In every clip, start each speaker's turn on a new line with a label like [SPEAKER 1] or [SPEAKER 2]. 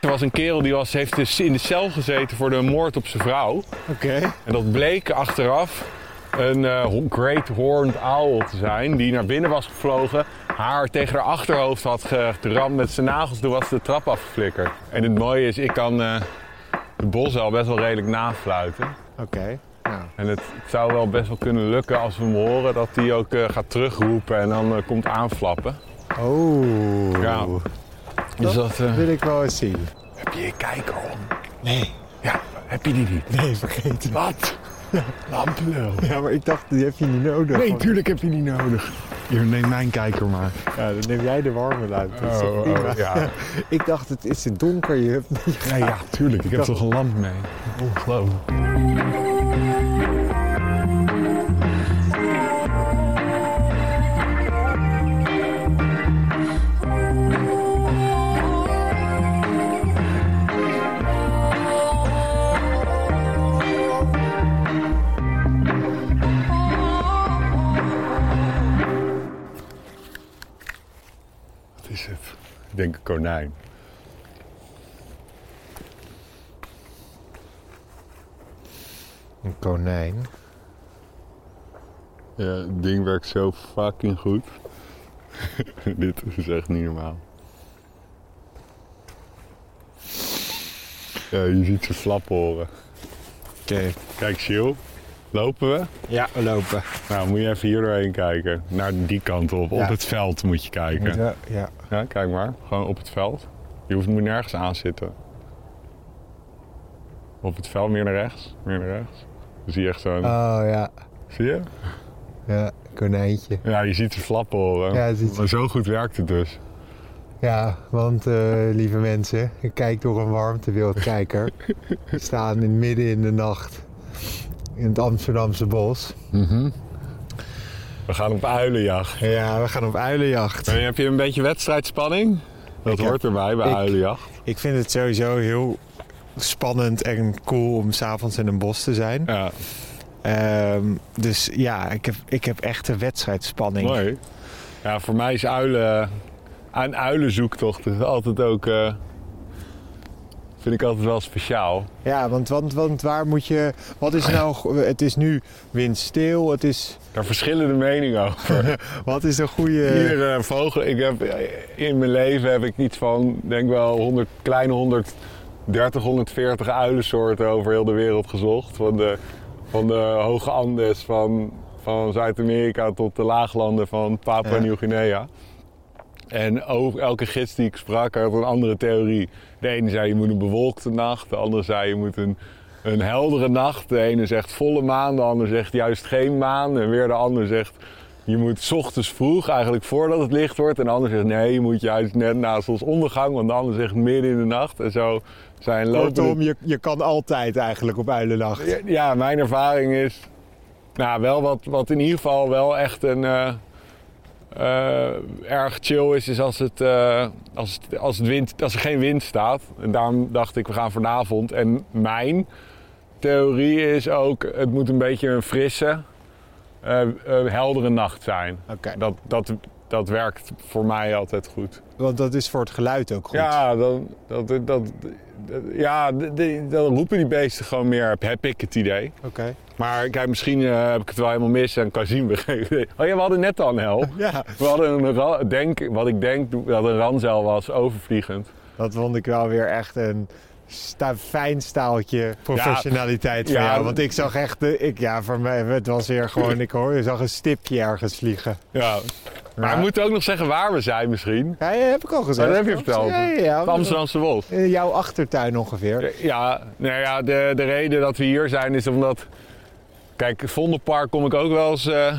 [SPEAKER 1] Er was een kerel die was, heeft dus in de cel gezeten voor de moord op zijn vrouw.
[SPEAKER 2] Oké.
[SPEAKER 1] En dat bleek achteraf een eh, ho- great horned owl te zijn die naar binnen was gevlogen, haar tegen haar achterhoofd had ge- geramd met zijn nagels, toen was ze de trap afgeflikkerd. En het mooie is, ik kan eh, de bos al best wel redelijk nafluiten.
[SPEAKER 2] Oké. Nou,
[SPEAKER 1] En het, het zou wel best wel kunnen lukken als we hem horen dat hij ook eh, gaat terugroepen en dan eh, komt aanflappen.
[SPEAKER 2] Oh.
[SPEAKER 1] Ja. Dus dat, eh,
[SPEAKER 2] Wil ik wel eens zien.
[SPEAKER 1] Heb je je kijker om?
[SPEAKER 2] Nee.
[SPEAKER 1] Ja, heb je die niet?
[SPEAKER 2] Nee, vergeet het.
[SPEAKER 1] Wat? Lampenul.
[SPEAKER 2] Ja, maar ik dacht, die heb je niet nodig.
[SPEAKER 1] Nee,
[SPEAKER 2] Want-
[SPEAKER 1] tuurlijk heb je die nodig. Hier, neem mijn kijker maar.
[SPEAKER 2] Ja, dan neem jij de warme uit. Dat is toch
[SPEAKER 1] Oh,
[SPEAKER 2] prima?
[SPEAKER 1] oh, ja.
[SPEAKER 2] Ik dacht, het is het donker. Je hebt niet
[SPEAKER 1] Ja, ja, tuurlijk. Ik heb toch een lamp mee. Ongelooflijk. Wat is het? Ik denk een konijn.
[SPEAKER 2] Een konijn.
[SPEAKER 1] Ja, het ding werkt zo fucking goed. Dit is echt niet normaal. Ja, je ziet ze flap horen.
[SPEAKER 2] Oké.
[SPEAKER 1] Kijk, Sjoel. Lopen we?
[SPEAKER 2] Ja, we lopen.
[SPEAKER 1] Nou, moet je even hier doorheen kijken. Naar die kant op.
[SPEAKER 2] Ja.
[SPEAKER 1] Op het veld moet je kijken.
[SPEAKER 2] Ja, ja.
[SPEAKER 1] Ja, kijk maar. Gewoon op het veld. Je hoeft, moet nergens aan zitten. Op het veld, meer naar rechts. Meer naar rechts. Dan zie je echt zo'n...
[SPEAKER 2] Oh ja.
[SPEAKER 1] Zie je?
[SPEAKER 2] Ja, konijntje.
[SPEAKER 1] Ja, je ziet ze flappen horen.
[SPEAKER 2] Ja, je ziet ze.
[SPEAKER 1] Maar zo goed werkt het dus.
[SPEAKER 2] Ja, want eh, lieve mensen, ik kijk door een warmtewildkijker. We staan in midden in de nacht in het Amsterdamse bos.
[SPEAKER 1] We gaan op uilenjacht.
[SPEAKER 2] Ja, we gaan op uilenjacht.
[SPEAKER 1] En heb je een beetje wedstrijdspanning? Dat
[SPEAKER 2] Ik heb-
[SPEAKER 1] hoort erbij bij
[SPEAKER 2] ik-
[SPEAKER 1] uilenjacht.
[SPEAKER 2] Ik vind het sowieso heel spannend en cool om s'avonds in een bos te zijn.
[SPEAKER 1] Ja,
[SPEAKER 2] Ehm, dus ja, ik heb, ik heb echt een wedstrijdspanning.
[SPEAKER 1] mooi. Ja, voor mij is uilen... Aan uilenzoektocht is altijd ook... eh, vind ik altijd wel speciaal.
[SPEAKER 2] Ja, want, want, want waar moet je... Wat is nou... go- Het is nu windstil, het is...
[SPEAKER 1] Daar verschillen de meningen over.
[SPEAKER 2] Wat is een goede...
[SPEAKER 1] Hier eh, vogel, ik heb, in mijn leven heb ik iets van, denk wel, 100, kleine 130, 140 uilensoorten over heel de wereld gezocht. Van de, van de hoge Andes van, van Zuid-Amerika tot de laaglanden van Papua
[SPEAKER 2] Ja.
[SPEAKER 1] Nieuw-Guinea. En ook elke gids die ik sprak had een andere theorie. De ene zei je moet een bewolkte nacht, de andere zei je moet een, een heldere nacht. De ene zegt volle maan, de ander zegt juist geen maan. En weer de ander zegt je moet 's ochtends vroeg, eigenlijk voordat het licht wordt. En de ander zegt nee, je moet juist net na zonsondergang, want de ander zegt midden in de nacht. En zo zijn lopende
[SPEAKER 2] Kortom, je, je kan altijd eigenlijk op uilennacht.
[SPEAKER 1] ja, ja, mijn ervaring is. Nou, wel wat, wat in ieder geval wel echt een. eh, eh, erg chill is, is als, het, eh, als, het- als, het wind, als er geen wind staat. En daarom dacht ik, we gaan vanavond. En mijn theorie is ook: het moet een beetje een frisse, eh, eh, heldere nacht zijn.
[SPEAKER 2] Oké.
[SPEAKER 1] Dat, dat, dat werkt voor mij altijd goed.
[SPEAKER 2] Want dat is voor het geluid ook goed.
[SPEAKER 1] Ja, dan, dat, dat, dat- ja de- de- dan roepen die beesten gewoon meer, heb, heb ik het idee.
[SPEAKER 2] Oké.
[SPEAKER 1] Maar kijk, misschien eh, heb ik het wel helemaal mis en Kazim begrepen. Oh ja, we hadden net al een hel.
[SPEAKER 2] Ja,
[SPEAKER 1] We hadden een, ra- denk, wat ik denk dat een ranzel was, overvliegend.
[SPEAKER 2] dat vond ik wel weer echt een sta- fijn staaltje professionaliteit van
[SPEAKER 1] Ja.
[SPEAKER 2] jou. Want ik zag echt... De, ik, ja, voor mij het was weer gewoon... Ik hoor, je zag een stipje ergens vliegen.
[SPEAKER 1] Ja. Maar
[SPEAKER 2] Ja.
[SPEAKER 1] we moeten ook nog zeggen waar we zijn misschien.
[SPEAKER 2] Ja, ja, heb ik al gezegd.
[SPEAKER 1] Dat Oh, heb je verteld.
[SPEAKER 2] Ja, ja, ja.
[SPEAKER 1] Het Amsterdamse Wolf.
[SPEAKER 2] In jouw achtertuin ongeveer.
[SPEAKER 1] Ja, nou ja, de, de reden dat we hier zijn is omdat... Kijk, Vondelpark kom ik ook wel eens eh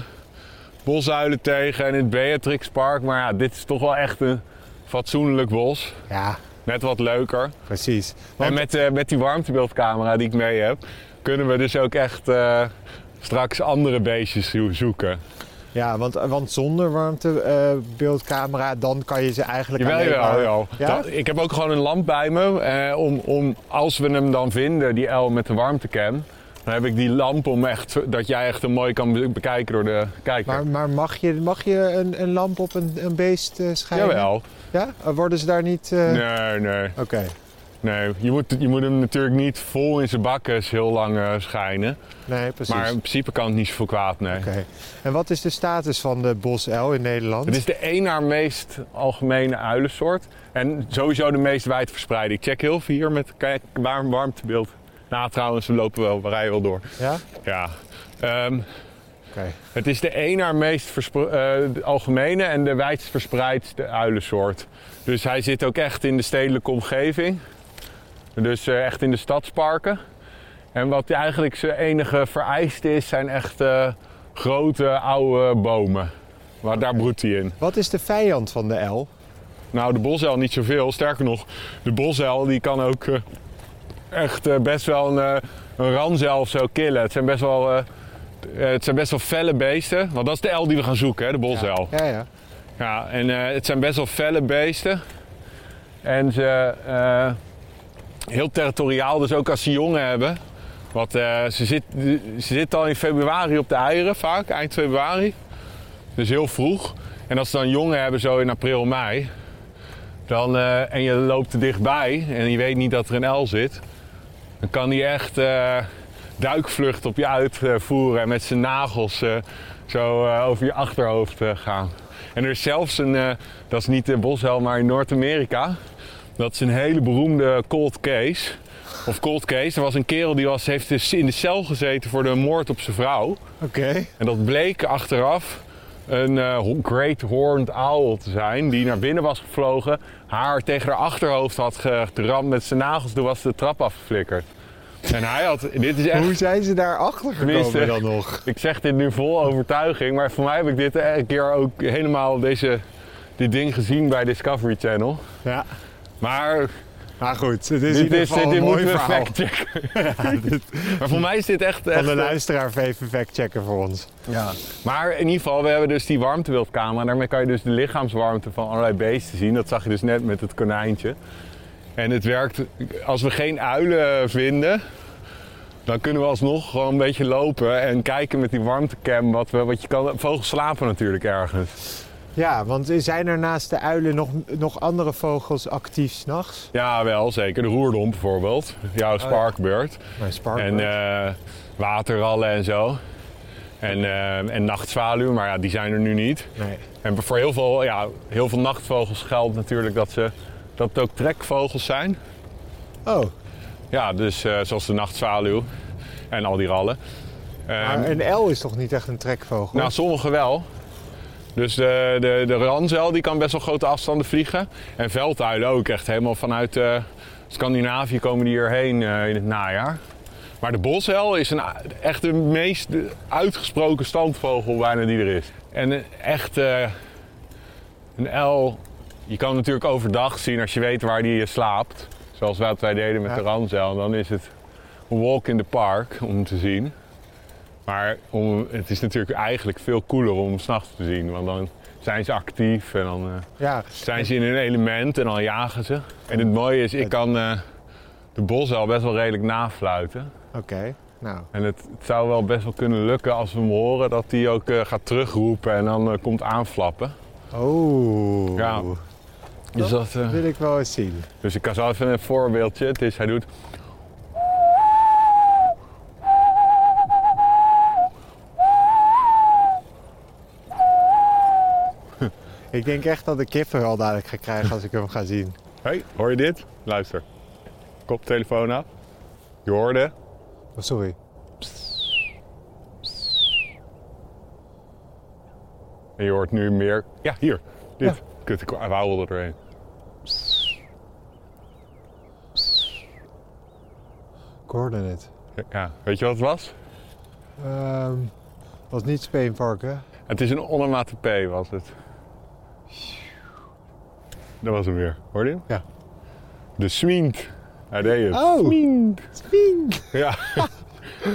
[SPEAKER 1] bosuilen tegen en in het Beatrixpark. Maar ja, dit is toch wel echt een fatsoenlijk bos.
[SPEAKER 2] Ja,
[SPEAKER 1] Net wat leuker.
[SPEAKER 2] precies.
[SPEAKER 1] En
[SPEAKER 2] Want,
[SPEAKER 1] met, eh, met die warmtebeeldcamera die ik mee heb... kunnen we dus ook echt eh, straks andere beestjes zo- zoeken.
[SPEAKER 2] ja, want, eh, want zonder warmtebeeldcamera, dan kan je ze eigenlijk
[SPEAKER 1] Jawel,
[SPEAKER 2] alleen maar-
[SPEAKER 1] jawel, jawel.
[SPEAKER 2] Ja?
[SPEAKER 1] Dat- ik heb ook gewoon een lamp bij me. eh, om, om, als we hem dan vinden, die L met de warmtecam... dan heb ik die lamp om echt, dat jij echt hem mooi kan be- bekijken door de kijker.
[SPEAKER 2] Maar, maar mag je, mag je een, een lamp op een, een beest eh schijnen?
[SPEAKER 1] Jawel.
[SPEAKER 2] Ja? Eh, Worden ze daar niet... eh,
[SPEAKER 1] Nee, nee.
[SPEAKER 2] Oké.
[SPEAKER 1] Nee, je moet, je moet hem natuurlijk niet vol in zijn bakkes heel lang eh, schijnen.
[SPEAKER 3] Nee, precies.
[SPEAKER 1] Maar in principe kan het niet zoveel kwaad, nee.
[SPEAKER 3] Oké. En wat is de status van de bosuil in Nederland?
[SPEAKER 1] Het is de één na meest algemene uilensoort. En sowieso de meest wijdverspreide. Ik check heel veel hier met kijk, warm, warmtebeeld. Nou, trouwens, we lopen wel, we rijden wel door.
[SPEAKER 3] Ja?
[SPEAKER 1] Ja. Ehm,
[SPEAKER 3] Oké.
[SPEAKER 1] het is de één na meest verspre- eh, de algemene en de wijdst verspreidste uilensoort. Dus hij zit ook echt in de stedelijke omgeving. Dus eh, echt in de stadsparken. En wat eigenlijk zijn enige vereiste is, zijn echt eh, grote oude bomen. Maar daar broedt hij in.
[SPEAKER 3] Wat is de vijand van de L?
[SPEAKER 1] Nou, de bosuil niet zoveel. Sterker nog, de bosuil die kan ook eh, echt eh, best wel een, eh, een ranzel of zo killen. Het zijn best wel, eh, eh, het zijn best wel felle beesten. Want dat is de L die we gaan zoeken, hè, de bosuil. Ja,
[SPEAKER 3] Ja, ja.
[SPEAKER 1] en eh, het zijn best wel felle beesten. En ze eh, heel territoriaal, dus ook als ze jongen hebben. Want eh, ze zit, ze zit al in februari op de eieren vaak, eind februari. Dus heel vroeg. En als ze dan jongen hebben, zo in april, mei. Dan, eh, en je loopt er dichtbij en je weet niet dat er een L zit. Dan kan die echt eh, duikvlucht op je uitvoeren. En met zijn nagels eh, zo eh, over je achterhoofd eh, gaan. En er is zelfs een, eh, dat is niet de bosuil, maar in Noord-Amerika. Dat is een hele beroemde cold case. Of cold case. Er was een kerel die was, heeft dus in de cel gezeten voor de moord op zijn vrouw.
[SPEAKER 3] Oké.
[SPEAKER 1] En dat bleek achteraf een eh, ho- Great Horned Owl te zijn, die naar binnen was gevlogen, haar tegen haar achterhoofd had geramd met zijn nagels, toen was ze de trap afgeflikkerd. En hij had, dit
[SPEAKER 3] Hoe
[SPEAKER 1] is echt,
[SPEAKER 3] zijn ze daar achter gekomen
[SPEAKER 1] Tenminste.
[SPEAKER 3] dan nog?
[SPEAKER 1] ik zeg dit nu vol overtuiging, maar voor mij heb ik dit eh, een keer ook helemaal deze, dit ding gezien bij Discovery Channel.
[SPEAKER 3] Ja.
[SPEAKER 1] Maar
[SPEAKER 3] Maar goed, het is in
[SPEAKER 1] dit,
[SPEAKER 3] ieder
[SPEAKER 1] is,
[SPEAKER 3] geval
[SPEAKER 1] dit,
[SPEAKER 3] een
[SPEAKER 1] dit
[SPEAKER 3] mooi
[SPEAKER 1] moeten we
[SPEAKER 3] verhaal.
[SPEAKER 1] factchecken. maar voor mij is dit echt...
[SPEAKER 3] Van
[SPEAKER 1] echt
[SPEAKER 3] de luisteraar even factchecken voor ons.
[SPEAKER 1] Ja. Maar in ieder geval, we hebben dus die warmtebeeldcamera. Daarmee kan je dus de lichaamswarmte van allerlei beesten zien. Dat zag je dus net met het konijntje. En het werkt, als we geen uilen vinden, dan kunnen we alsnog gewoon een beetje lopen en kijken met die warmtecam. Wat we, wat je kan, vogels slapen natuurlijk ergens.
[SPEAKER 3] Ja, want zijn er naast de uilen nog, nog andere vogels actief s'nachts?
[SPEAKER 1] Ja, wel zeker. De roerdom bijvoorbeeld, jouw sparkbird.
[SPEAKER 3] Mijn
[SPEAKER 1] En
[SPEAKER 3] sparkbird.
[SPEAKER 1] eh, waterrallen en zo. En, eh, en nachtzwaluwen, maar ja, die zijn er nu niet.
[SPEAKER 3] eh, nee.
[SPEAKER 1] En voor heel veel, ja, heel veel nachtvogels geldt natuurlijk dat, ze, dat het ook trekvogels zijn.
[SPEAKER 3] Oh,
[SPEAKER 1] Ja, dus eh, zoals de nachtzwaluw en al die rallen. Ehm,
[SPEAKER 3] maar een L is toch niet echt een trekvogel?
[SPEAKER 1] nou, sommige wel. Dus de, de, de ranzel die kan best wel grote afstanden vliegen. En velduilen ook, echt helemaal vanuit eh, Scandinavië komen die hierheen eh, in het najaar. Maar de bosuil is een, a- echt de meest uitgesproken standvogel bijna die er is. En een- echt eh, een L, je kan hem natuurlijk overdag zien als je weet waar die eh, slaapt. Zoals wat wij deden met
[SPEAKER 3] Ja.
[SPEAKER 1] de ranzel. Dan is het een walk in the park om hem te zien. Maar om, het is natuurlijk eigenlijk veel cooler om hem s'nachts te zien. Want dan zijn ze actief en dan eh,
[SPEAKER 3] Ja,
[SPEAKER 1] zijn ze in hun element en dan jagen ze. En het mooie is, ik kan eh, de bosuil best wel redelijk nafluiten.
[SPEAKER 3] oké. Nou,
[SPEAKER 1] En het, het zou wel best wel kunnen lukken als we hem horen dat hij ook eh, gaat terugroepen en dan eh, komt aanflappen.
[SPEAKER 3] oh.
[SPEAKER 1] Ja. Dus, dat, eh,
[SPEAKER 3] Wil ik wel eens zien.
[SPEAKER 1] dus ik kan zo even een voorbeeldje. Het is, hij doet.
[SPEAKER 3] Ik denk echt dat ik kippen al dadelijk ga krijgen als ik hem ga zien.
[SPEAKER 1] hey, hoor je dit? Luister. Koptelefoon af. Je hoorde.
[SPEAKER 3] Oh, sorry.
[SPEAKER 1] En je hoort nu meer. Ja, hier. Dit. Kut, ik wou er doorheen.
[SPEAKER 3] Ik hoorde het.
[SPEAKER 1] Ja, weet je wat het was?
[SPEAKER 3] Ehm, was niet Speenvark, hè?
[SPEAKER 1] Het is een onomatopee was het. Dat was hem weer. Hoorde je hem?
[SPEAKER 3] Ja.
[SPEAKER 1] De smient. Hij deed het.
[SPEAKER 3] Oh.
[SPEAKER 1] Smient.
[SPEAKER 3] Spink!
[SPEAKER 1] Ja.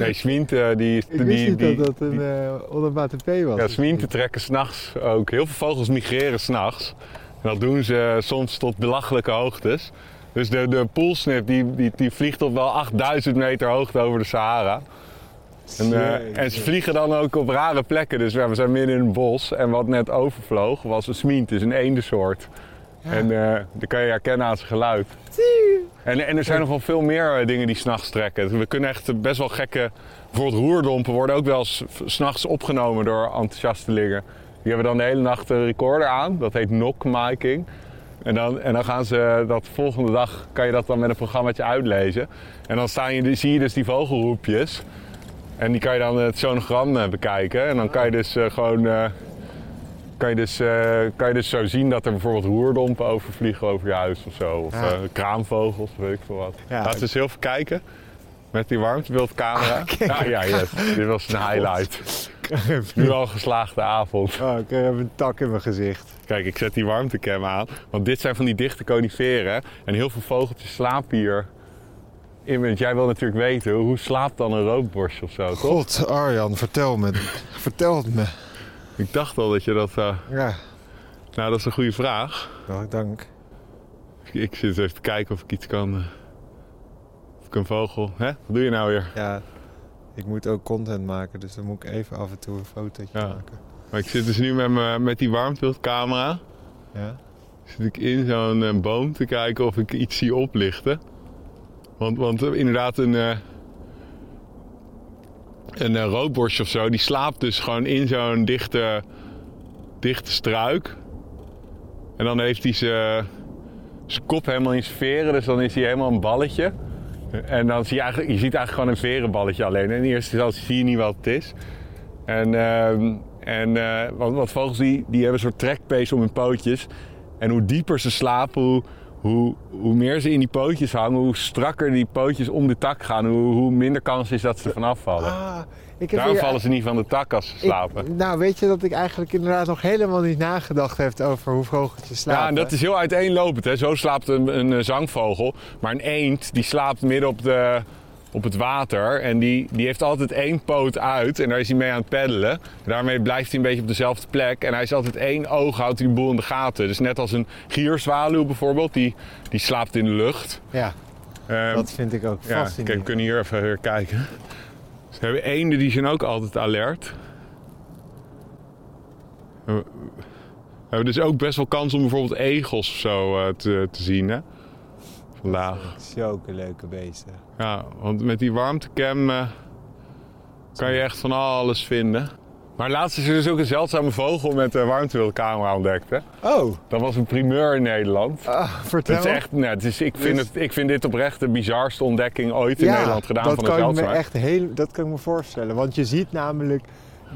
[SPEAKER 1] nee, smient eh, die...
[SPEAKER 3] Ik
[SPEAKER 1] die,
[SPEAKER 3] wist niet
[SPEAKER 1] die-
[SPEAKER 3] dat dat een
[SPEAKER 1] die-
[SPEAKER 3] eh ondermaat P was.
[SPEAKER 1] ja, smienten trekken s'nachts ook. Heel veel vogels migreren s'nachts. En dat doen ze eh, soms tot belachelijke hoogtes. Dus de, de poolsnip die, die, die vliegt op wel 8000 meter hoogte over de Sahara. En, eh, en ze vliegen dan ook op rare plekken. Dus ja, we zijn midden in een bos. En wat net overvloog was een smient, dus een eendensoort. En eh dat kan je herkennen aan zijn geluid. En, en er zijn nog wel veel meer eh, dingen die s'nachts trekken. We kunnen echt eh, best wel gekke... Bijvoorbeeld roerdompen worden ook wel s'nachts opgenomen door enthousiastelingen. Die hebben dan de hele nacht een recorder aan. Dat heet knockmaking. En dan, en dan gaan ze dat volgende dag... kan je dat dan met een programmaatje uitlezen. En dan staan je, zie je dus die vogelroepjes. En die kan je dan het sonogram eh, bekijken. En dan kan je dus eh, gewoon... eh, kan je, dus, eh, kan je dus zo zien dat er bijvoorbeeld roerdompen overvliegen over je huis of zo. Of
[SPEAKER 3] Ja.
[SPEAKER 1] eh, kraanvogels, weet ik veel wat.
[SPEAKER 3] Ja. Ah,
[SPEAKER 1] Laten we eens heel veel kijken. Met die warmtebeeldcamera. ja, ja, yes. Dit was een highlight. Nu al een geslaagde avond.
[SPEAKER 3] Oh, ik heb een tak in mijn gezicht.
[SPEAKER 1] Kijk, ik zet die warmtecam aan. Want dit zijn van die dichte coniferen. En heel veel vogeltjes slapen hier. in. Want jij wil natuurlijk weten, hoe slaapt dan een roodborst of zo, toch?
[SPEAKER 3] God, Arjan, vertel me. vertel het me.
[SPEAKER 1] Ik dacht al dat je dat... eh,
[SPEAKER 3] Ja,
[SPEAKER 1] Nou, dat is een goede vraag.
[SPEAKER 3] nou, dank.
[SPEAKER 1] Ik zit even te kijken of ik iets kan. eh, Of ik een vogel. Hè? Wat doe je nou weer?
[SPEAKER 3] Ja, ik moet ook content maken, dus dan moet ik even af en toe een fotootje
[SPEAKER 1] Ja.
[SPEAKER 3] maken.
[SPEAKER 1] Maar ik zit dus nu met, mijn- met die warmtebeeldcamera.
[SPEAKER 3] Ja?
[SPEAKER 1] Zit ik in zo'n eh, boom te kijken of ik iets zie oplichten. Want, want eh, inderdaad, een. eh, een eh, roodborst of zo, die slaapt dus gewoon in zo'n dichte. dichte struik. En dan heeft hij zijn zijn kop helemaal in zijn veren, dus dan is hij helemaal een balletje. En dan zie je eigenlijk, je ziet eigenlijk gewoon een verenballetje alleen. En in eerste instantie zie je niet wat het is. En, ehm, en eh, want, want vogels die, die hebben een soort trekpees om hun pootjes. En hoe dieper ze slapen, hoe, hoe, hoe meer ze in die pootjes hangen, hoe strakker die pootjes om de tak gaan, hoe, hoe minder kans is dat ze vanaf vallen.
[SPEAKER 3] Ah, ik heb
[SPEAKER 1] Daarom
[SPEAKER 3] hier-
[SPEAKER 1] vallen ze niet van de tak als ze
[SPEAKER 3] ik-
[SPEAKER 1] slapen.
[SPEAKER 3] nou, weet je dat ik eigenlijk inderdaad nog helemaal niet nagedacht heb over hoe vogeltjes slapen?
[SPEAKER 1] Ja, en dat is heel uiteenlopend. Hè? Zo slaapt een, een eh, zangvogel. Maar een eend die slaapt midden op, de, op het water. En die, die heeft altijd één poot uit. En daar is hij mee aan het peddelen. En daarmee blijft hij een beetje op dezelfde plek. En hij is altijd één oog, houdt hij de boel in de gaten. Dus net als een gierzwaluw bijvoorbeeld. Die, die slaapt in de lucht.
[SPEAKER 3] Ja,
[SPEAKER 1] Ehm,
[SPEAKER 3] dat vind ik ook
[SPEAKER 1] ja, kijk, we
[SPEAKER 3] fascinerend.
[SPEAKER 1] kunnen hier even weer kijken. Ze hebben eenden, die zijn ook altijd alert. We we hebben dus ook best wel kans om bijvoorbeeld egels of zo eh, te, te zien, hè? Vandaag.
[SPEAKER 3] Zulke leuke beesten.
[SPEAKER 1] Ja, want met die warmtecam eh, kan je echt van alles vinden. Maar laatst is er dus ook een zeldzame vogel met een warmtewildcamera ontdekt, hè?
[SPEAKER 3] Oh,
[SPEAKER 1] Dat was een primeur in Nederland.
[SPEAKER 3] ah, vertel.
[SPEAKER 1] Het is echt, nee, het is, ik, vind
[SPEAKER 3] Dus-
[SPEAKER 1] het, ik vind dit oprecht de bizarste ontdekking ooit in
[SPEAKER 3] ja,
[SPEAKER 1] Nederland gedaan
[SPEAKER 3] dat
[SPEAKER 1] van een
[SPEAKER 3] kan ik me
[SPEAKER 1] zeldzaam.
[SPEAKER 3] echt heel, Dat kan ik me voorstellen. Want je ziet namelijk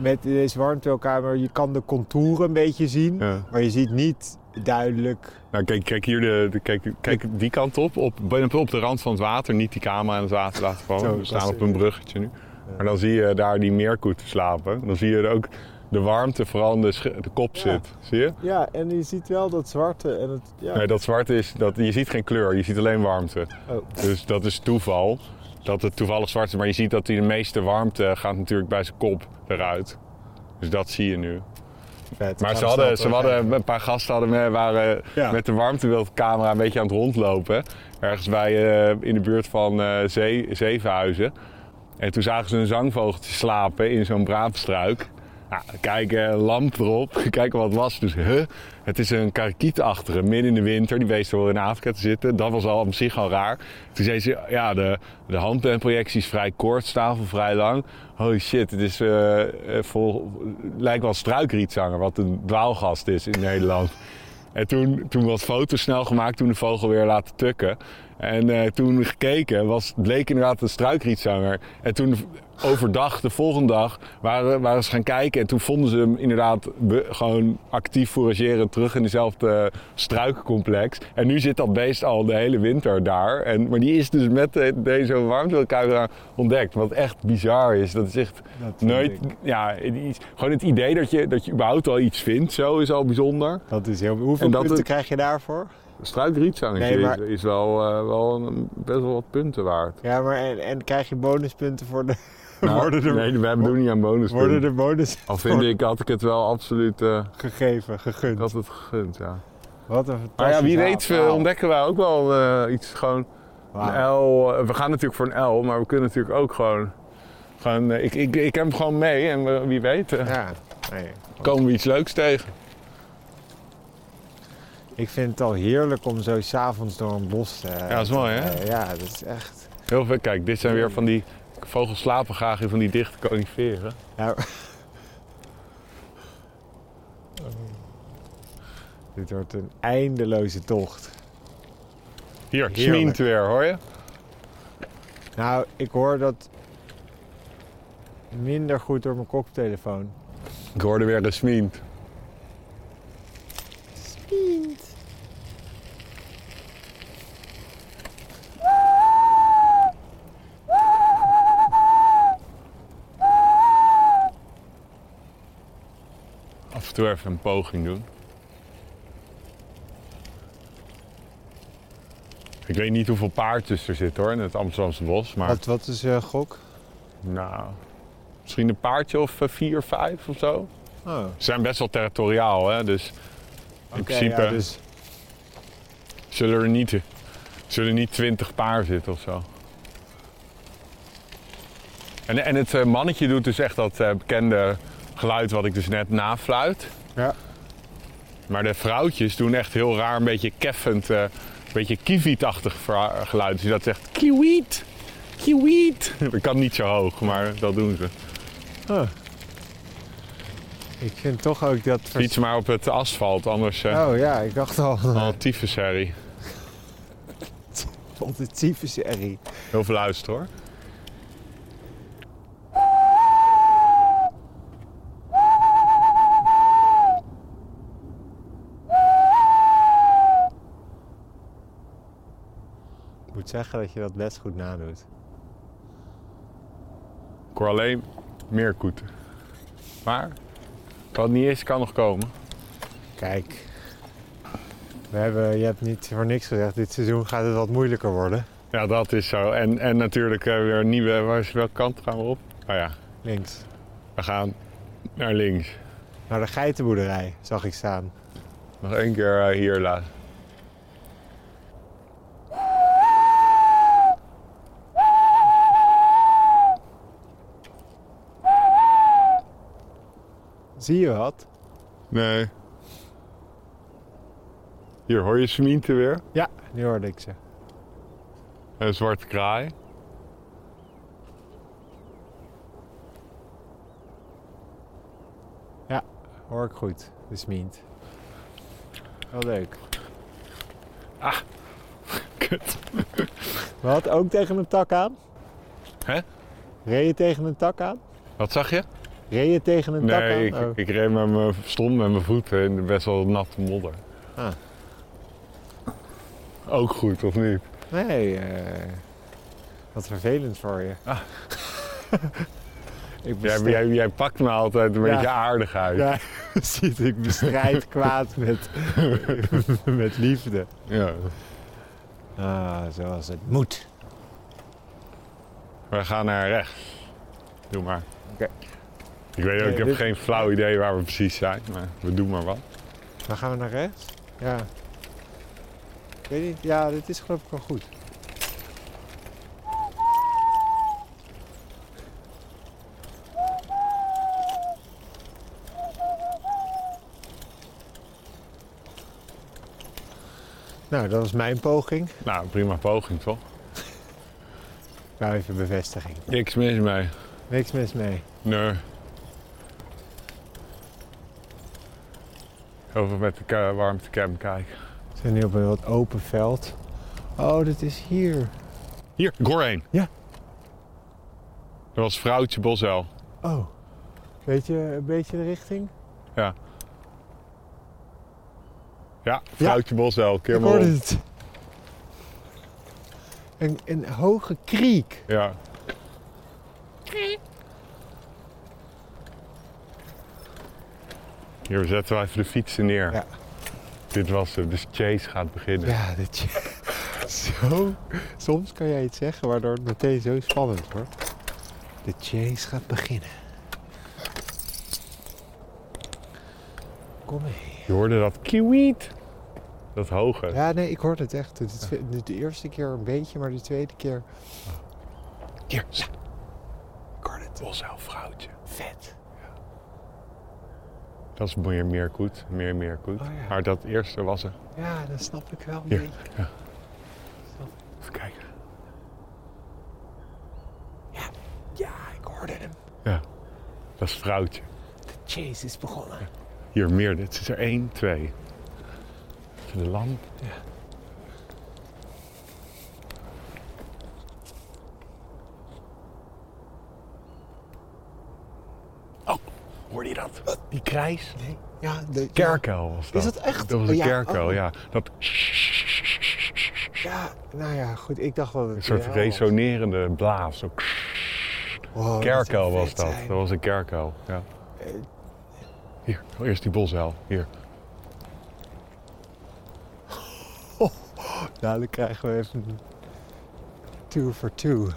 [SPEAKER 3] met deze warmteelkamer, je kan de contouren een beetje zien.
[SPEAKER 1] Ja.
[SPEAKER 3] Maar je ziet niet duidelijk.
[SPEAKER 1] Nou, kijk, kijk hier de, de- kijk, kijk die kant op, op, bijna op de rand van het water. Niet die camera in het water laten vallen.
[SPEAKER 3] Zo,
[SPEAKER 1] We staan
[SPEAKER 3] dat is-
[SPEAKER 1] op een bruggetje nu. Maar dan zie je daar die meerkoeten slapen. Dan zie je er ook de warmte vooral in de, sch- de kop zit. Zie je?
[SPEAKER 3] Ja, en je ziet wel dat zwarte en het. Ja.
[SPEAKER 1] Nee, dat zwart is, dat, je ziet geen kleur, je ziet alleen warmte.
[SPEAKER 3] Oh.
[SPEAKER 1] Dus dat is toeval. Dat het toevallig zwart is, maar je ziet dat hij de meeste warmte gaat natuurlijk bij zijn kop eruit. Dus dat zie je nu.
[SPEAKER 3] Vet,
[SPEAKER 1] Maar
[SPEAKER 3] ik
[SPEAKER 1] ze
[SPEAKER 3] ga
[SPEAKER 1] hadden,
[SPEAKER 3] er
[SPEAKER 1] ze
[SPEAKER 3] snel
[SPEAKER 1] hadden, een paar gasten hadden, me- waren
[SPEAKER 3] Ja.
[SPEAKER 1] met de warmtebeeldcamera een beetje aan het rondlopen. Ergens bij, eh, in de buurt van eh Zee- Zevenhuizen. En toen zagen ze een zangvogeltje slapen in zo'n braamstruik. Nou, kijk, eh, lamp erop. Kijken wat het was. Dus, huh? Het is een karakietachtige, midden in de winter. Die wees er wel in Afrika te zitten. Dat was al op zich al raar. Toen zei ze, ja, de, de handpenprojectie is vrij kort, stavel vrij lang. Holy shit, het is, eh, eh, vol, lijkt wel struikrietzanger, wat een dwaalgast is in Nederland. En toen, toen wat foto's snel gemaakt, toen de vogel weer laten tukken. En eh, toen gekeken, was, bleek inderdaad een struikrietzanger. En toen overdag, de volgende dag, waren, waren ze gaan kijken. En toen vonden ze hem inderdaad be- gewoon actief fourageren terug in dezelfde struikcomplex. En nu zit dat beest al de hele winter daar. En, maar die is dus met de- deze warmteelkuiger ontdekt. Wat echt bizar is. Dat is echt
[SPEAKER 3] Dat vind
[SPEAKER 1] nooit...
[SPEAKER 3] ik.
[SPEAKER 1] Ja, iets- gewoon het idee dat je, dat je überhaupt al iets vindt, zo is al bijzonder.
[SPEAKER 3] Dat is heel. Hoeveel
[SPEAKER 1] En dat
[SPEAKER 3] punten
[SPEAKER 1] het-
[SPEAKER 3] krijg je daarvoor?
[SPEAKER 1] Struikrietzanger
[SPEAKER 3] Nee, maar-
[SPEAKER 1] is, is wel, eh, wel een- best wel wat punten waard.
[SPEAKER 3] Ja, maar en, en krijg je bonuspunten voor de. worden er,
[SPEAKER 1] Nou, nee, we doen niet aan bonus.
[SPEAKER 3] worden er bonus
[SPEAKER 1] Al vind ik, had ik het wel absoluut eh
[SPEAKER 3] gegeven, gegund.
[SPEAKER 1] dat het gegund, ja.
[SPEAKER 3] Wat een fantastisch.
[SPEAKER 1] Maar ja, nou. wie weet
[SPEAKER 3] verhaal.
[SPEAKER 1] we ontdekken wij ook wel eh, iets gewoon...
[SPEAKER 3] Wauw.
[SPEAKER 1] Een L, eh, we gaan natuurlijk voor een L, maar we kunnen natuurlijk ook gewoon... gewoon eh, ik, ik, ik heb hem gewoon mee en we- wie weet eh,
[SPEAKER 3] Ja, nee.
[SPEAKER 1] komen we iets leuks tegen.
[SPEAKER 2] Ik vind het al heerlijk om zo s'avonds door een bos te... Ja,
[SPEAKER 1] dat is mooi, hè?
[SPEAKER 2] ja, dat is echt...
[SPEAKER 1] Heel veel, kijk, dit zijn weer van die vogels slapen graag in van die dichte coniferen.
[SPEAKER 2] Nou, dit wordt een eindeloze tocht.
[SPEAKER 1] Hier,
[SPEAKER 2] Heerlijk.
[SPEAKER 1] smient weer, hoor je?
[SPEAKER 2] Nou, ik hoor dat minder goed door mijn koptelefoon.
[SPEAKER 1] Ik hoorde weer een smient. Af en toe even een poging doen. Ik weet niet hoeveel paardjes er zitten hoor, in het Amsterdamse bos. Maar
[SPEAKER 2] Wat, wat is eh gok?
[SPEAKER 1] nou, misschien een paardje of eh, vier, vijf of zo.
[SPEAKER 2] Oh,
[SPEAKER 1] Ze zijn best wel territoriaal, hè? dus in principe
[SPEAKER 2] ja, dus
[SPEAKER 1] zullen er niet, zullen niet twintig paar zitten of zo. En, en het eh, mannetje doet dus echt dat eh, bekende geluid wat ik dus net nafluit.
[SPEAKER 2] Ja.
[SPEAKER 1] Maar de vrouwtjes doen echt heel raar, een beetje keffend, eh, een beetje kievietachtig vra- geluid. Dus dat zegt kiewiet, kiewiet. Dat kan niet zo hoog, maar dat doen ze.
[SPEAKER 2] ik vind toch ook dat... vers-
[SPEAKER 1] Fiets maar op het asfalt, anders eh
[SPEAKER 2] Oh ja, ik dacht al...
[SPEAKER 1] al tyfusherrie.
[SPEAKER 2] Wat een tyfusherrie.
[SPEAKER 1] Heel veel luisteren hoor.
[SPEAKER 2] Ik moet zeggen dat je dat best goed nadoet.
[SPEAKER 1] Ik hoor alleen meer koeten. Maar wat niet is, kan nog komen.
[SPEAKER 2] Kijk, we hebben, je hebt niet voor niks gezegd, dit seizoen gaat het wat moeilijker worden.
[SPEAKER 1] Ja, dat is zo. En, en natuurlijk eh, weer een nieuwe. Waar is, welke kant gaan we op? Nou ja,
[SPEAKER 2] Links.
[SPEAKER 1] we gaan naar links.
[SPEAKER 2] Naar de geitenboerderij zag ik staan.
[SPEAKER 1] Nog één keer eh, hier laat.
[SPEAKER 2] Zie je wat?
[SPEAKER 1] Nee. Hier hoor je Smiente weer.
[SPEAKER 2] Ja, nu hoorde ik ze.
[SPEAKER 1] Een zwarte kraai.
[SPEAKER 2] Hoor ik goed, de smient. Wel leuk.
[SPEAKER 1] Kut.
[SPEAKER 2] Wat, ook tegen een tak aan?
[SPEAKER 1] Hè?
[SPEAKER 2] Reed je tegen een tak aan?
[SPEAKER 1] Wat zag je?
[SPEAKER 2] Reed je tegen een tak aan?
[SPEAKER 1] Nee, ik,
[SPEAKER 2] Oh.
[SPEAKER 1] ik reed met mijn stom met mijn voeten in de best wel natte modder.
[SPEAKER 2] Ah.
[SPEAKER 1] Ook goed, of niet?
[SPEAKER 2] Nee, eh, wat vervelend voor je. ik
[SPEAKER 1] Jij,
[SPEAKER 2] bestel-
[SPEAKER 1] jij, jij pakt me altijd een
[SPEAKER 2] Ja.
[SPEAKER 1] beetje aardig uit.
[SPEAKER 2] Ja, ziet, ik bestrijd kwaad met, met liefde.
[SPEAKER 1] Ja.
[SPEAKER 2] Ah, zoals het moet.
[SPEAKER 1] We gaan naar rechts. Doe maar.
[SPEAKER 2] Oké.
[SPEAKER 1] Ik weet ook,
[SPEAKER 2] Nee,
[SPEAKER 1] ik heb
[SPEAKER 2] dit-
[SPEAKER 1] geen flauw idee waar we precies zijn, maar we doen maar wat.
[SPEAKER 2] Dan gaan we naar rechts. Ja. Ik weet niet, ja, dit is geloof ik wel goed. Nou, dat was mijn poging.
[SPEAKER 1] Nou, prima poging toch?
[SPEAKER 2] Nou, even bevestiging.
[SPEAKER 1] Niks mis mee.
[SPEAKER 2] Niks mis mee.
[SPEAKER 1] Nee. Over met de ka- warmtecam kijken.
[SPEAKER 2] We zijn nu op een wat open veld. Oh, dit is hier.
[SPEAKER 1] Hier, ik hoor één.
[SPEAKER 2] Ja.
[SPEAKER 1] Dat was vrouwtje Bosel.
[SPEAKER 2] Oh, weet je een beetje de richting?
[SPEAKER 1] Ja. Ja, vrouwtje Bosel. Keer
[SPEAKER 2] Ik
[SPEAKER 1] maar
[SPEAKER 2] hoorde
[SPEAKER 1] om.
[SPEAKER 2] het. Een, een hoge kriek.
[SPEAKER 1] Ja. Hier zetten we even de fietsen neer.
[SPEAKER 2] Ja.
[SPEAKER 1] Dit was het, dus Chase gaat beginnen.
[SPEAKER 2] Ja, dit zo. Soms kan jij iets zeggen waardoor het meteen zo spannend wordt. De chase gaat beginnen. Kom mee.
[SPEAKER 1] Je hoorde dat kiwiet, dat hoge.
[SPEAKER 2] Ja, nee, ik hoorde het echt. Het- het- De, de eerste keer een beetje, maar de tweede keer.
[SPEAKER 1] Hier, ja. Ik hoorde het. Bosel vrouwtje.
[SPEAKER 2] Vet.
[SPEAKER 1] Dat is meer Meerkoet. Meer Meerkoet.
[SPEAKER 2] Oh ja.
[SPEAKER 1] Maar dat eerste was er.
[SPEAKER 2] Ja, dat snap ik wel
[SPEAKER 1] Ja.
[SPEAKER 2] een beetje.
[SPEAKER 1] Even kijken.
[SPEAKER 2] Ja, ik hoorde hem.
[SPEAKER 1] Ja. Dat is vrouwtje.
[SPEAKER 2] De chase is begonnen.
[SPEAKER 1] Hier, meer. Dit is er één, twee. Even de lamp. Oh, hoorde je dat? Die krijs?
[SPEAKER 2] Nee, ja, de
[SPEAKER 1] Kerkel was dat.
[SPEAKER 2] Is dat echt?
[SPEAKER 1] Dat was een
[SPEAKER 2] Ja,
[SPEAKER 1] kerkel,
[SPEAKER 2] oh.
[SPEAKER 1] ja. Dat
[SPEAKER 2] Ja, nou ja, goed. Ik dacht wel dat
[SPEAKER 1] een soort
[SPEAKER 2] het wel was.
[SPEAKER 1] resonerende blaas. Zo
[SPEAKER 2] Wow, Oh, dat zou
[SPEAKER 1] kerkel was
[SPEAKER 2] vet
[SPEAKER 1] Oh, dat.
[SPEAKER 2] zijn.
[SPEAKER 1] Dat was een kerkel, ja. Hier, oh, eerst die bosuil. Hier.
[SPEAKER 2] Nou, dan krijgen we even een two for two.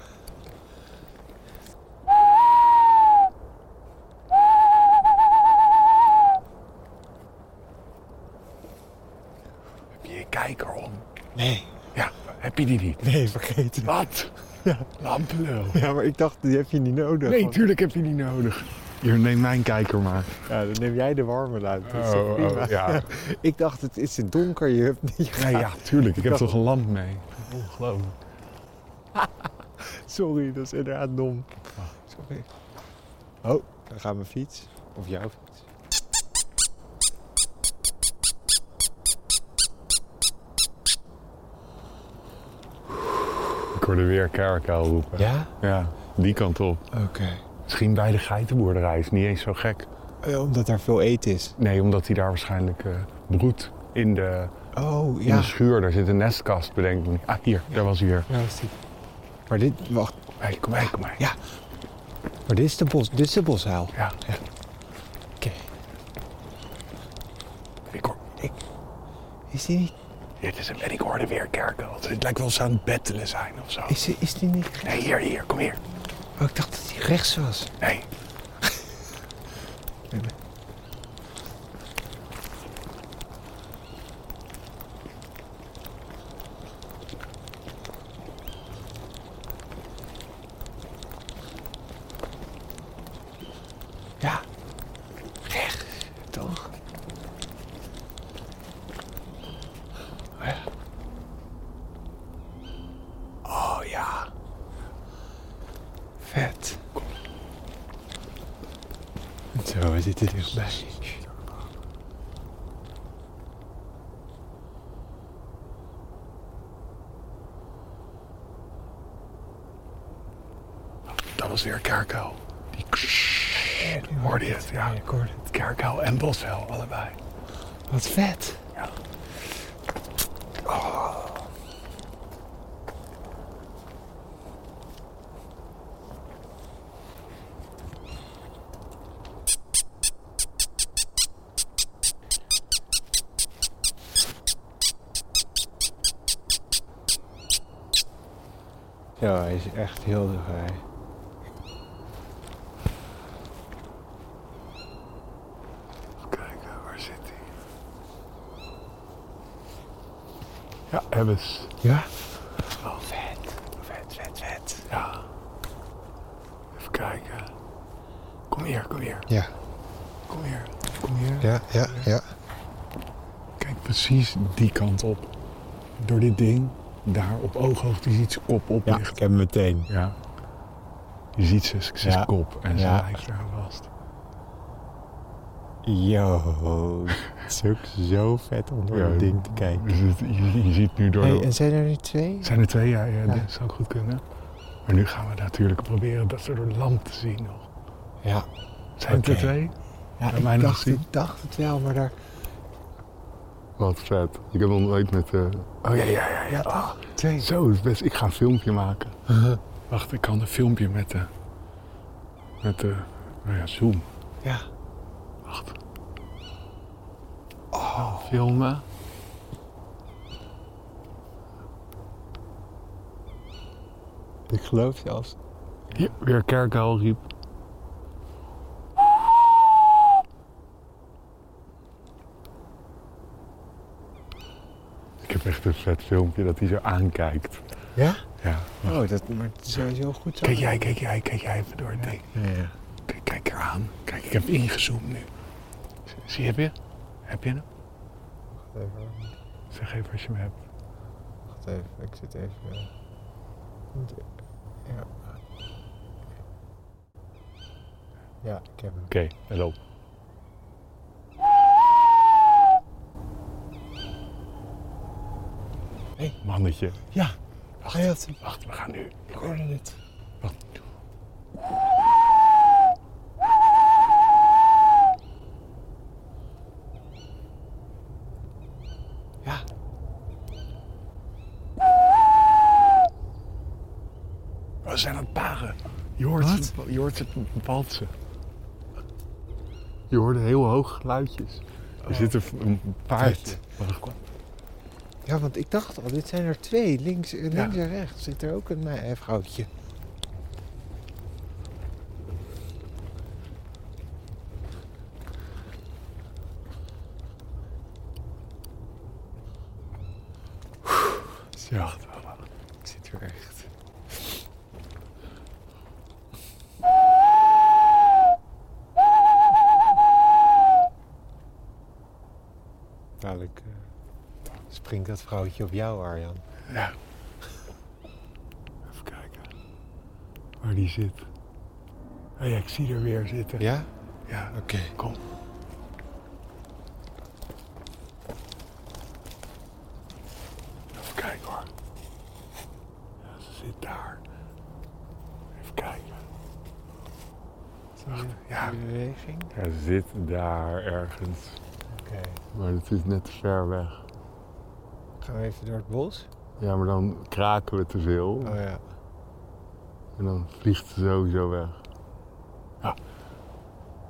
[SPEAKER 1] Heb je je kijker om?
[SPEAKER 2] Nee,
[SPEAKER 1] Ja, heb je die niet?
[SPEAKER 2] nee, vergeet het.
[SPEAKER 1] Wat? Ja. Lamplul.
[SPEAKER 2] Ja, maar ik dacht, die heb je niet nodig.
[SPEAKER 1] Nee,
[SPEAKER 2] want-
[SPEAKER 1] tuurlijk heb je die nodig. Hier, neem mijn kijker maar.
[SPEAKER 2] ja, dan neem jij de warme uit. Dat is toch
[SPEAKER 1] Oh,
[SPEAKER 2] prima?
[SPEAKER 1] oh, ja.
[SPEAKER 2] Ik dacht, het is het donker. Je hebt niet...
[SPEAKER 1] Nee, ja, tuurlijk. Ik heb toch een lamp mee. Ongelooflijk.
[SPEAKER 2] Sorry, dat is inderdaad dom. Sorry. Oh, dan gaat mijn fiets. Of jouw fiets.
[SPEAKER 1] Ik hoorde weer kerkel roepen.
[SPEAKER 2] Ja?
[SPEAKER 1] Ja, die kant op.
[SPEAKER 2] Oké.
[SPEAKER 1] Misschien bij de geitenboerderij is niet eens zo gek.
[SPEAKER 2] Eh, Omdat daar veel eten is.
[SPEAKER 1] Nee, omdat hij daar waarschijnlijk eh, broedt in de,
[SPEAKER 2] Oh,
[SPEAKER 1] in de schuur. Daar zit een nestkast, bedenk ik. Ah, hier, daar was hij weer.
[SPEAKER 2] Nou is die. Maar dit, wacht.
[SPEAKER 1] Hey, kom mee, kom mee.
[SPEAKER 2] Ja. Maar dit is de, bos, dit is de boshuil.
[SPEAKER 1] Ja,
[SPEAKER 2] Oké.
[SPEAKER 1] ik hoor,
[SPEAKER 2] Is die niet...
[SPEAKER 1] dit is hem. En ik hoorde weer kerkel. Het lijkt wel eens aan het bettelen zijn of zo.
[SPEAKER 2] Is die, is die niet...
[SPEAKER 1] Nee, hier, hier, kom hier.
[SPEAKER 2] Oh, ik dacht dat die rechts was.
[SPEAKER 1] Nee.
[SPEAKER 2] Ja. Rechts. Toch?
[SPEAKER 1] Oh ja.
[SPEAKER 2] Vet. Zo, we zitten dichtbij.
[SPEAKER 1] Dat was weer kerkel. Die hoorde je het, ja.
[SPEAKER 2] ik hoorde het.
[SPEAKER 1] Kerkel en Boshel, allebei.
[SPEAKER 2] Wat vet.
[SPEAKER 1] Ja.
[SPEAKER 2] Ja, hij is echt heel dichtbij.
[SPEAKER 1] Kijken, waar zit hij? Ja, Ebbes.
[SPEAKER 2] Ja?
[SPEAKER 1] Oh, vet. Vet, vet, vet. Ja. Even kijken. Kom hier, kom hier.
[SPEAKER 3] Ja,
[SPEAKER 1] Kom hier. Kom hier.
[SPEAKER 3] ja, ja, ja.
[SPEAKER 1] Kijk precies die kant op. Door dit ding. Daar op ooghoogte je ziet zijn kop
[SPEAKER 2] Ja,
[SPEAKER 1] oplichten.
[SPEAKER 2] ik heb hem meteen.
[SPEAKER 1] Ja. Je ziet zijn, zijn
[SPEAKER 2] Ja.
[SPEAKER 1] kop en zijn
[SPEAKER 2] Ja.
[SPEAKER 1] lijf daar vast.
[SPEAKER 2] Yo. Het is ook zo vet om door
[SPEAKER 1] Ja,
[SPEAKER 2] dat ding te kijken.
[SPEAKER 1] Je, ziet- je- je ziet nu door de-
[SPEAKER 2] Hey, en zijn er nu twee?
[SPEAKER 1] Zijn er twee? Ja, ja, dat zou ook goed kunnen. Maar nu gaan we natuurlijk proberen dat ze door de lamp te zien nog.
[SPEAKER 2] Ja.
[SPEAKER 1] Zijn het er
[SPEAKER 2] Oké.
[SPEAKER 1] twee?
[SPEAKER 2] Ja,
[SPEAKER 1] Kan mij
[SPEAKER 2] ik
[SPEAKER 1] nog
[SPEAKER 2] dacht,
[SPEAKER 1] zien?
[SPEAKER 2] ik dacht het wel, maar daar...
[SPEAKER 1] Wat vet. Ik heb nog nooit met... Oh ja, ja, ja. ja. Oh,
[SPEAKER 2] Twee.
[SPEAKER 1] zo, is best... ik ga een filmpje maken. Wacht, ik kan een filmpje met de... Met de... Nou ja, zoom.
[SPEAKER 2] Ja.
[SPEAKER 1] Wacht. Oh. Filmen.
[SPEAKER 2] Ik geloof zelfs.
[SPEAKER 1] Hier, weer kerkhuil riep. Ik heb echt een vet filmpje dat hij zo aankijkt.
[SPEAKER 2] Ja?
[SPEAKER 1] Ja.
[SPEAKER 2] Oh, dat maar het is sowieso goed zo.
[SPEAKER 1] Kijk jij, kijk jij, kijk jij even door het ding.
[SPEAKER 2] Ja, ja.
[SPEAKER 1] Kijk, kijk eraan. Kijk, ik heb ingezoomd nu. Zie, heb je? Heb je hem? Zeg even als je hem hebt.
[SPEAKER 2] Wacht even, ik zit even. eh, want- Ja. Ja, ik heb hem.
[SPEAKER 1] Oké, hallo.
[SPEAKER 2] Hey.
[SPEAKER 1] Mannetje.
[SPEAKER 2] Ja, hij had hem.
[SPEAKER 1] Wacht, we gaan nu.
[SPEAKER 2] Ik hoorde het. Ja.
[SPEAKER 1] We zijn aan het paren. Je hoort,
[SPEAKER 3] Wat?
[SPEAKER 1] ze, je hoort ze walsen. Je hoort heel hoog geluidjes. Er zit een, Oh. een paardje. Wacht,
[SPEAKER 2] Ja, want ik dacht al, dit zijn er twee. Links, eh,
[SPEAKER 1] Ja.
[SPEAKER 2] links en rechts zit er ook een eh, vrouwtje.
[SPEAKER 1] Ja, wacht, wacht, wacht.
[SPEAKER 2] Ik zit er echt. Dadelijk eh, springt dat vrouwtje op jou, Arjan.
[SPEAKER 1] Ja. Even kijken. Waar die zit. Hé, ik zie er weer zitten.
[SPEAKER 2] Ja?
[SPEAKER 1] Ja,
[SPEAKER 2] Oké.
[SPEAKER 1] kom. Even kijken hoor. Ja, ze zit daar. Even kijken. Wacht, ja.
[SPEAKER 2] Die Beweging.
[SPEAKER 1] Ja, ze zit daar ergens.
[SPEAKER 2] Oké.
[SPEAKER 1] Maar het is net te ver weg.
[SPEAKER 2] Gaan we even door het bos?
[SPEAKER 1] Ja, maar dan kraken we te veel.
[SPEAKER 2] Oh ja.
[SPEAKER 1] En dan vliegt ze sowieso weg. Ja.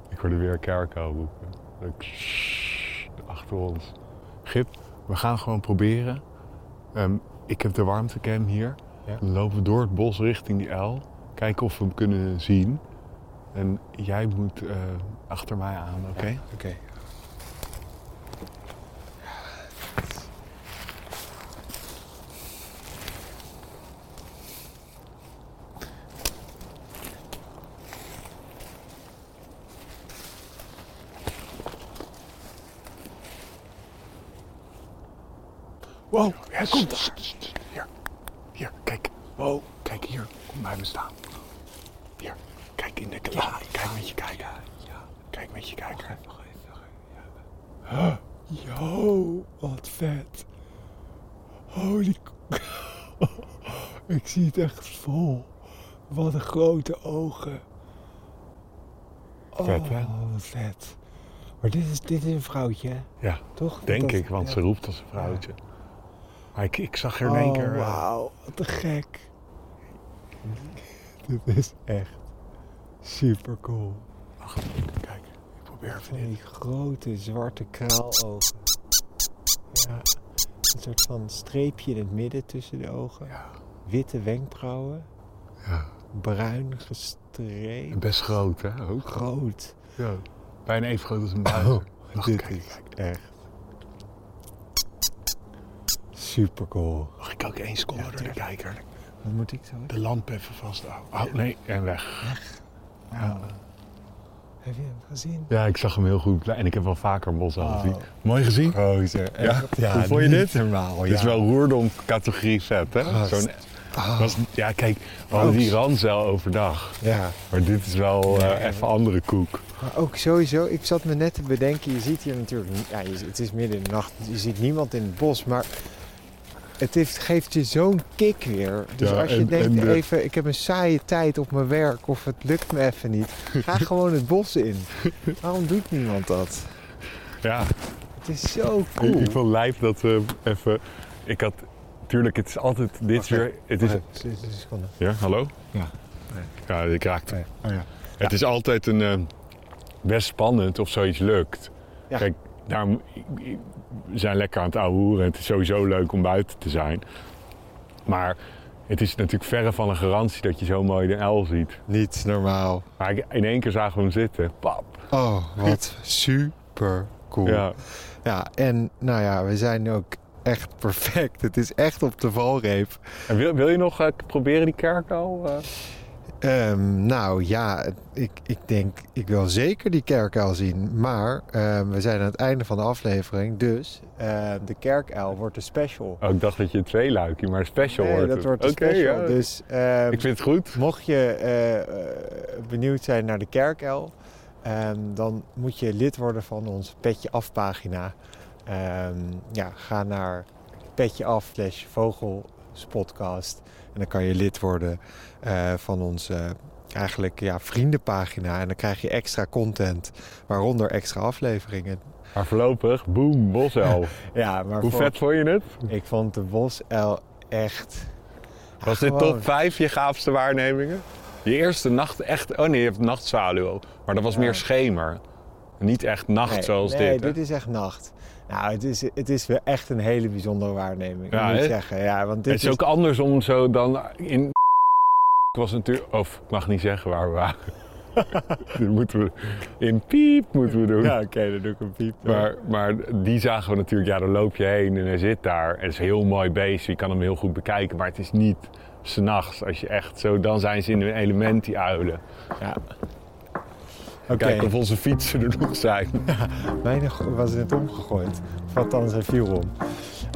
[SPEAKER 1] Ik hoorde weer kerkhout roepen. Ook sssst Achter ons. Gip, we gaan gewoon proberen. Ehm, ik heb de warmtecam hier.
[SPEAKER 2] Ja.
[SPEAKER 1] Dan lopen we door het bos richting die uil. Kijken of we hem kunnen zien. En jij moet eh, achter mij aan, oké?
[SPEAKER 2] Oké.
[SPEAKER 1] Wow, hij komt daar. dus- Hier, hier, kijk. Wow, kijk hier. Kom bij me staan. Hier, kijk in de kla. kijk met je kijker. Kijk met je kijker. Huh, Yo, wat vet. Holy... k- Ik zie het echt vol. Wat een grote ogen.
[SPEAKER 2] Oh,
[SPEAKER 1] Vet, hè?
[SPEAKER 2] wat vet. Maar dit is, dit is een vrouwtje, hè?
[SPEAKER 1] Ja,
[SPEAKER 2] toch? Want
[SPEAKER 1] denk
[SPEAKER 2] dat-
[SPEAKER 1] ik, want
[SPEAKER 2] ja.
[SPEAKER 1] ze roept als een vrouwtje. Maar ik, ik zag er in één
[SPEAKER 2] Oh,
[SPEAKER 1] keer... eh,
[SPEAKER 2] Wauw, wat te gek. Dit is echt super cool.
[SPEAKER 1] Wacht, kijk. Ik probeer even
[SPEAKER 2] Van
[SPEAKER 1] dit.
[SPEAKER 2] die grote zwarte kraalogen. Ja, een soort van streepje in het midden tussen de ogen.
[SPEAKER 1] Ja.
[SPEAKER 2] Witte wenkbrauwen,
[SPEAKER 1] Ja.
[SPEAKER 2] bruin gestreept.
[SPEAKER 1] Best groot, hè? Ook.
[SPEAKER 2] Groot.
[SPEAKER 1] Ja. Bijna even groot als een buizer. Wacht,
[SPEAKER 2] dit
[SPEAKER 1] kijk,
[SPEAKER 2] is
[SPEAKER 1] kijk.
[SPEAKER 2] echt super cool.
[SPEAKER 1] Mag ik ook één seconde door de kijker?
[SPEAKER 2] Wat moet ik zo?
[SPEAKER 1] De lamp even vasthouden. Oh, nee, en weg. Ja.
[SPEAKER 2] Heb je hem gezien?
[SPEAKER 1] ja, ik zag hem heel goed. En ik heb wel vaker bossen
[SPEAKER 2] Oh.
[SPEAKER 1] gezien. Mooi gezien?
[SPEAKER 2] Groter.
[SPEAKER 1] echt. Hoe vond je
[SPEAKER 2] niet
[SPEAKER 1] dit?
[SPEAKER 2] Normaal,
[SPEAKER 1] Dit is
[SPEAKER 2] ja. Ah,
[SPEAKER 1] wel roerdom categorie vet, hè?
[SPEAKER 2] Gast.
[SPEAKER 1] Zo'n, was, ja, kijk, we hadden die ranzel overdag.
[SPEAKER 2] Ja,
[SPEAKER 1] Maar dit is wel eh,
[SPEAKER 2] Ja, ja.
[SPEAKER 1] even andere koek.
[SPEAKER 2] maar ook sowieso, ik zat me net te bedenken, je ziet hier natuurlijk, ni- ja, je- het is midden in de nacht, je ziet niemand in het bos, maar het heeft, geeft je zo'n kick weer. Dus
[SPEAKER 1] Ja,
[SPEAKER 2] als je
[SPEAKER 1] en-
[SPEAKER 2] denkt,
[SPEAKER 1] en de-
[SPEAKER 2] even, ik heb een saaie tijd op mijn werk of het lukt me even niet, ga gewoon het bos in. Waarom doet niemand dat?
[SPEAKER 1] Ja,
[SPEAKER 2] Het is zo
[SPEAKER 1] Ik,
[SPEAKER 2] cool.
[SPEAKER 1] ik vond lijf dat we even. Ik had. Tuurlijk, het is altijd. Dit is
[SPEAKER 2] Wacht
[SPEAKER 1] weer. Het is,
[SPEAKER 2] Wacht even, dit Ah, is een seconde.
[SPEAKER 1] ja, Ah, hallo?
[SPEAKER 2] Ja.
[SPEAKER 1] Ja, ik raakte.
[SPEAKER 2] Nee. Oh ja.
[SPEAKER 1] Het is altijd een. eh, best spannend of zoiets lukt.
[SPEAKER 2] Ja.
[SPEAKER 1] Kijk, daarom. ik- ik- We zijn lekker aan het ouwehoeren. Het is sowieso leuk om buiten te zijn. Maar het is natuurlijk verre van een garantie dat je zo mooi de L ziet.
[SPEAKER 2] Niet normaal.
[SPEAKER 1] Maar ik- in één keer zagen we hem zitten. Pap.
[SPEAKER 2] Oh, wat super cool.
[SPEAKER 1] Ja.
[SPEAKER 2] Ja, en nou ja, we zijn ook echt perfect. Het is echt op de valreep.
[SPEAKER 1] En wil, wil je nog eh, proberen die kerk al? eh?
[SPEAKER 2] Ehm, nou ja, ik, ik denk, ik wil zeker die kerkuil zien. Maar ehm, we zijn aan het einde van de aflevering, dus eh, de kerkuil wordt een special.
[SPEAKER 1] Oh, ik dacht dat je een tweeluikje, maar special
[SPEAKER 2] nee,
[SPEAKER 1] wordt
[SPEAKER 2] dat
[SPEAKER 1] het.
[SPEAKER 2] wordt een
[SPEAKER 1] Oké,
[SPEAKER 2] special.
[SPEAKER 1] ja.
[SPEAKER 2] Dus ehm,
[SPEAKER 1] Ik vind het goed.
[SPEAKER 2] mocht je eh, eh, benieuwd zijn naar de kerkuil, ehm, dan moet je lid worden van ons Petje Af pagina. Ehm, ja, ga naar petje af slash vogelspodcast en dan kan je lid worden eh, van onze eh, eigenlijk ja, vriendenpagina. En dan krijg je extra content, waaronder extra afleveringen.
[SPEAKER 1] Maar voorlopig, boom, bosuil.
[SPEAKER 2] Ja, maar
[SPEAKER 1] Hoe
[SPEAKER 2] voor-
[SPEAKER 1] vet vond je het?
[SPEAKER 2] ik vond de bosuil echt...
[SPEAKER 1] Was dit
[SPEAKER 2] Gewoon.
[SPEAKER 1] top 5 je gaafste waarnemingen? Je eerste nacht echt... Oh nee, je hebt nachtzwaluw ook. Maar dat was
[SPEAKER 2] Ja.
[SPEAKER 1] meer schemer. Niet echt nacht
[SPEAKER 2] nee,
[SPEAKER 1] zoals
[SPEAKER 2] nee,
[SPEAKER 1] dit. hè?
[SPEAKER 2] dit is echt nacht. Nou, het is, het is wel echt een hele bijzondere waarneming,
[SPEAKER 1] Ja,
[SPEAKER 2] moet ik
[SPEAKER 1] hè?
[SPEAKER 2] zeggen. Ja, want dit
[SPEAKER 1] Het is ook anders om zo dan in... Ik was natuurlijk... Of, ik mag niet zeggen waar we waren. Dit moeten we... In piep moeten we doen.
[SPEAKER 2] Ja, oké, dan doe ik een piep.
[SPEAKER 1] Maar, maar die zagen we natuurlijk, ja, dan loop je heen en hij zit daar. Het is een heel mooi beest, je kan hem heel goed bekijken, maar het is niet s'nachts. Als je echt zo, dan zijn ze in hun element, die uilen.
[SPEAKER 2] Ja. Oké,
[SPEAKER 1] Kijk of onze fietsen er nog zijn.
[SPEAKER 2] mijn go- was het omgegooid. Of althans, hij viel om.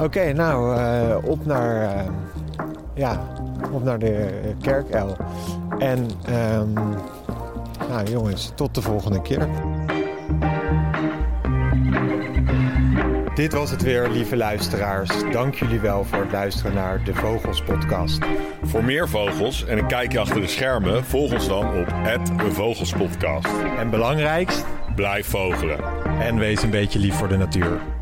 [SPEAKER 2] Oké, nou, eh, op naar... eh, ja, op naar de eh, kerkuil. En, ehm, nou jongens, tot de volgende keer. Dit was het weer, lieve luisteraars. Dank jullie wel voor het luisteren naar de Vogels podcast.
[SPEAKER 1] Voor meer vogels en een kijkje achter de schermen, volg ons dan op Vogelspodcast.
[SPEAKER 2] En belangrijkst,
[SPEAKER 1] Blijf vogelen.
[SPEAKER 2] en wees een beetje lief voor de natuur.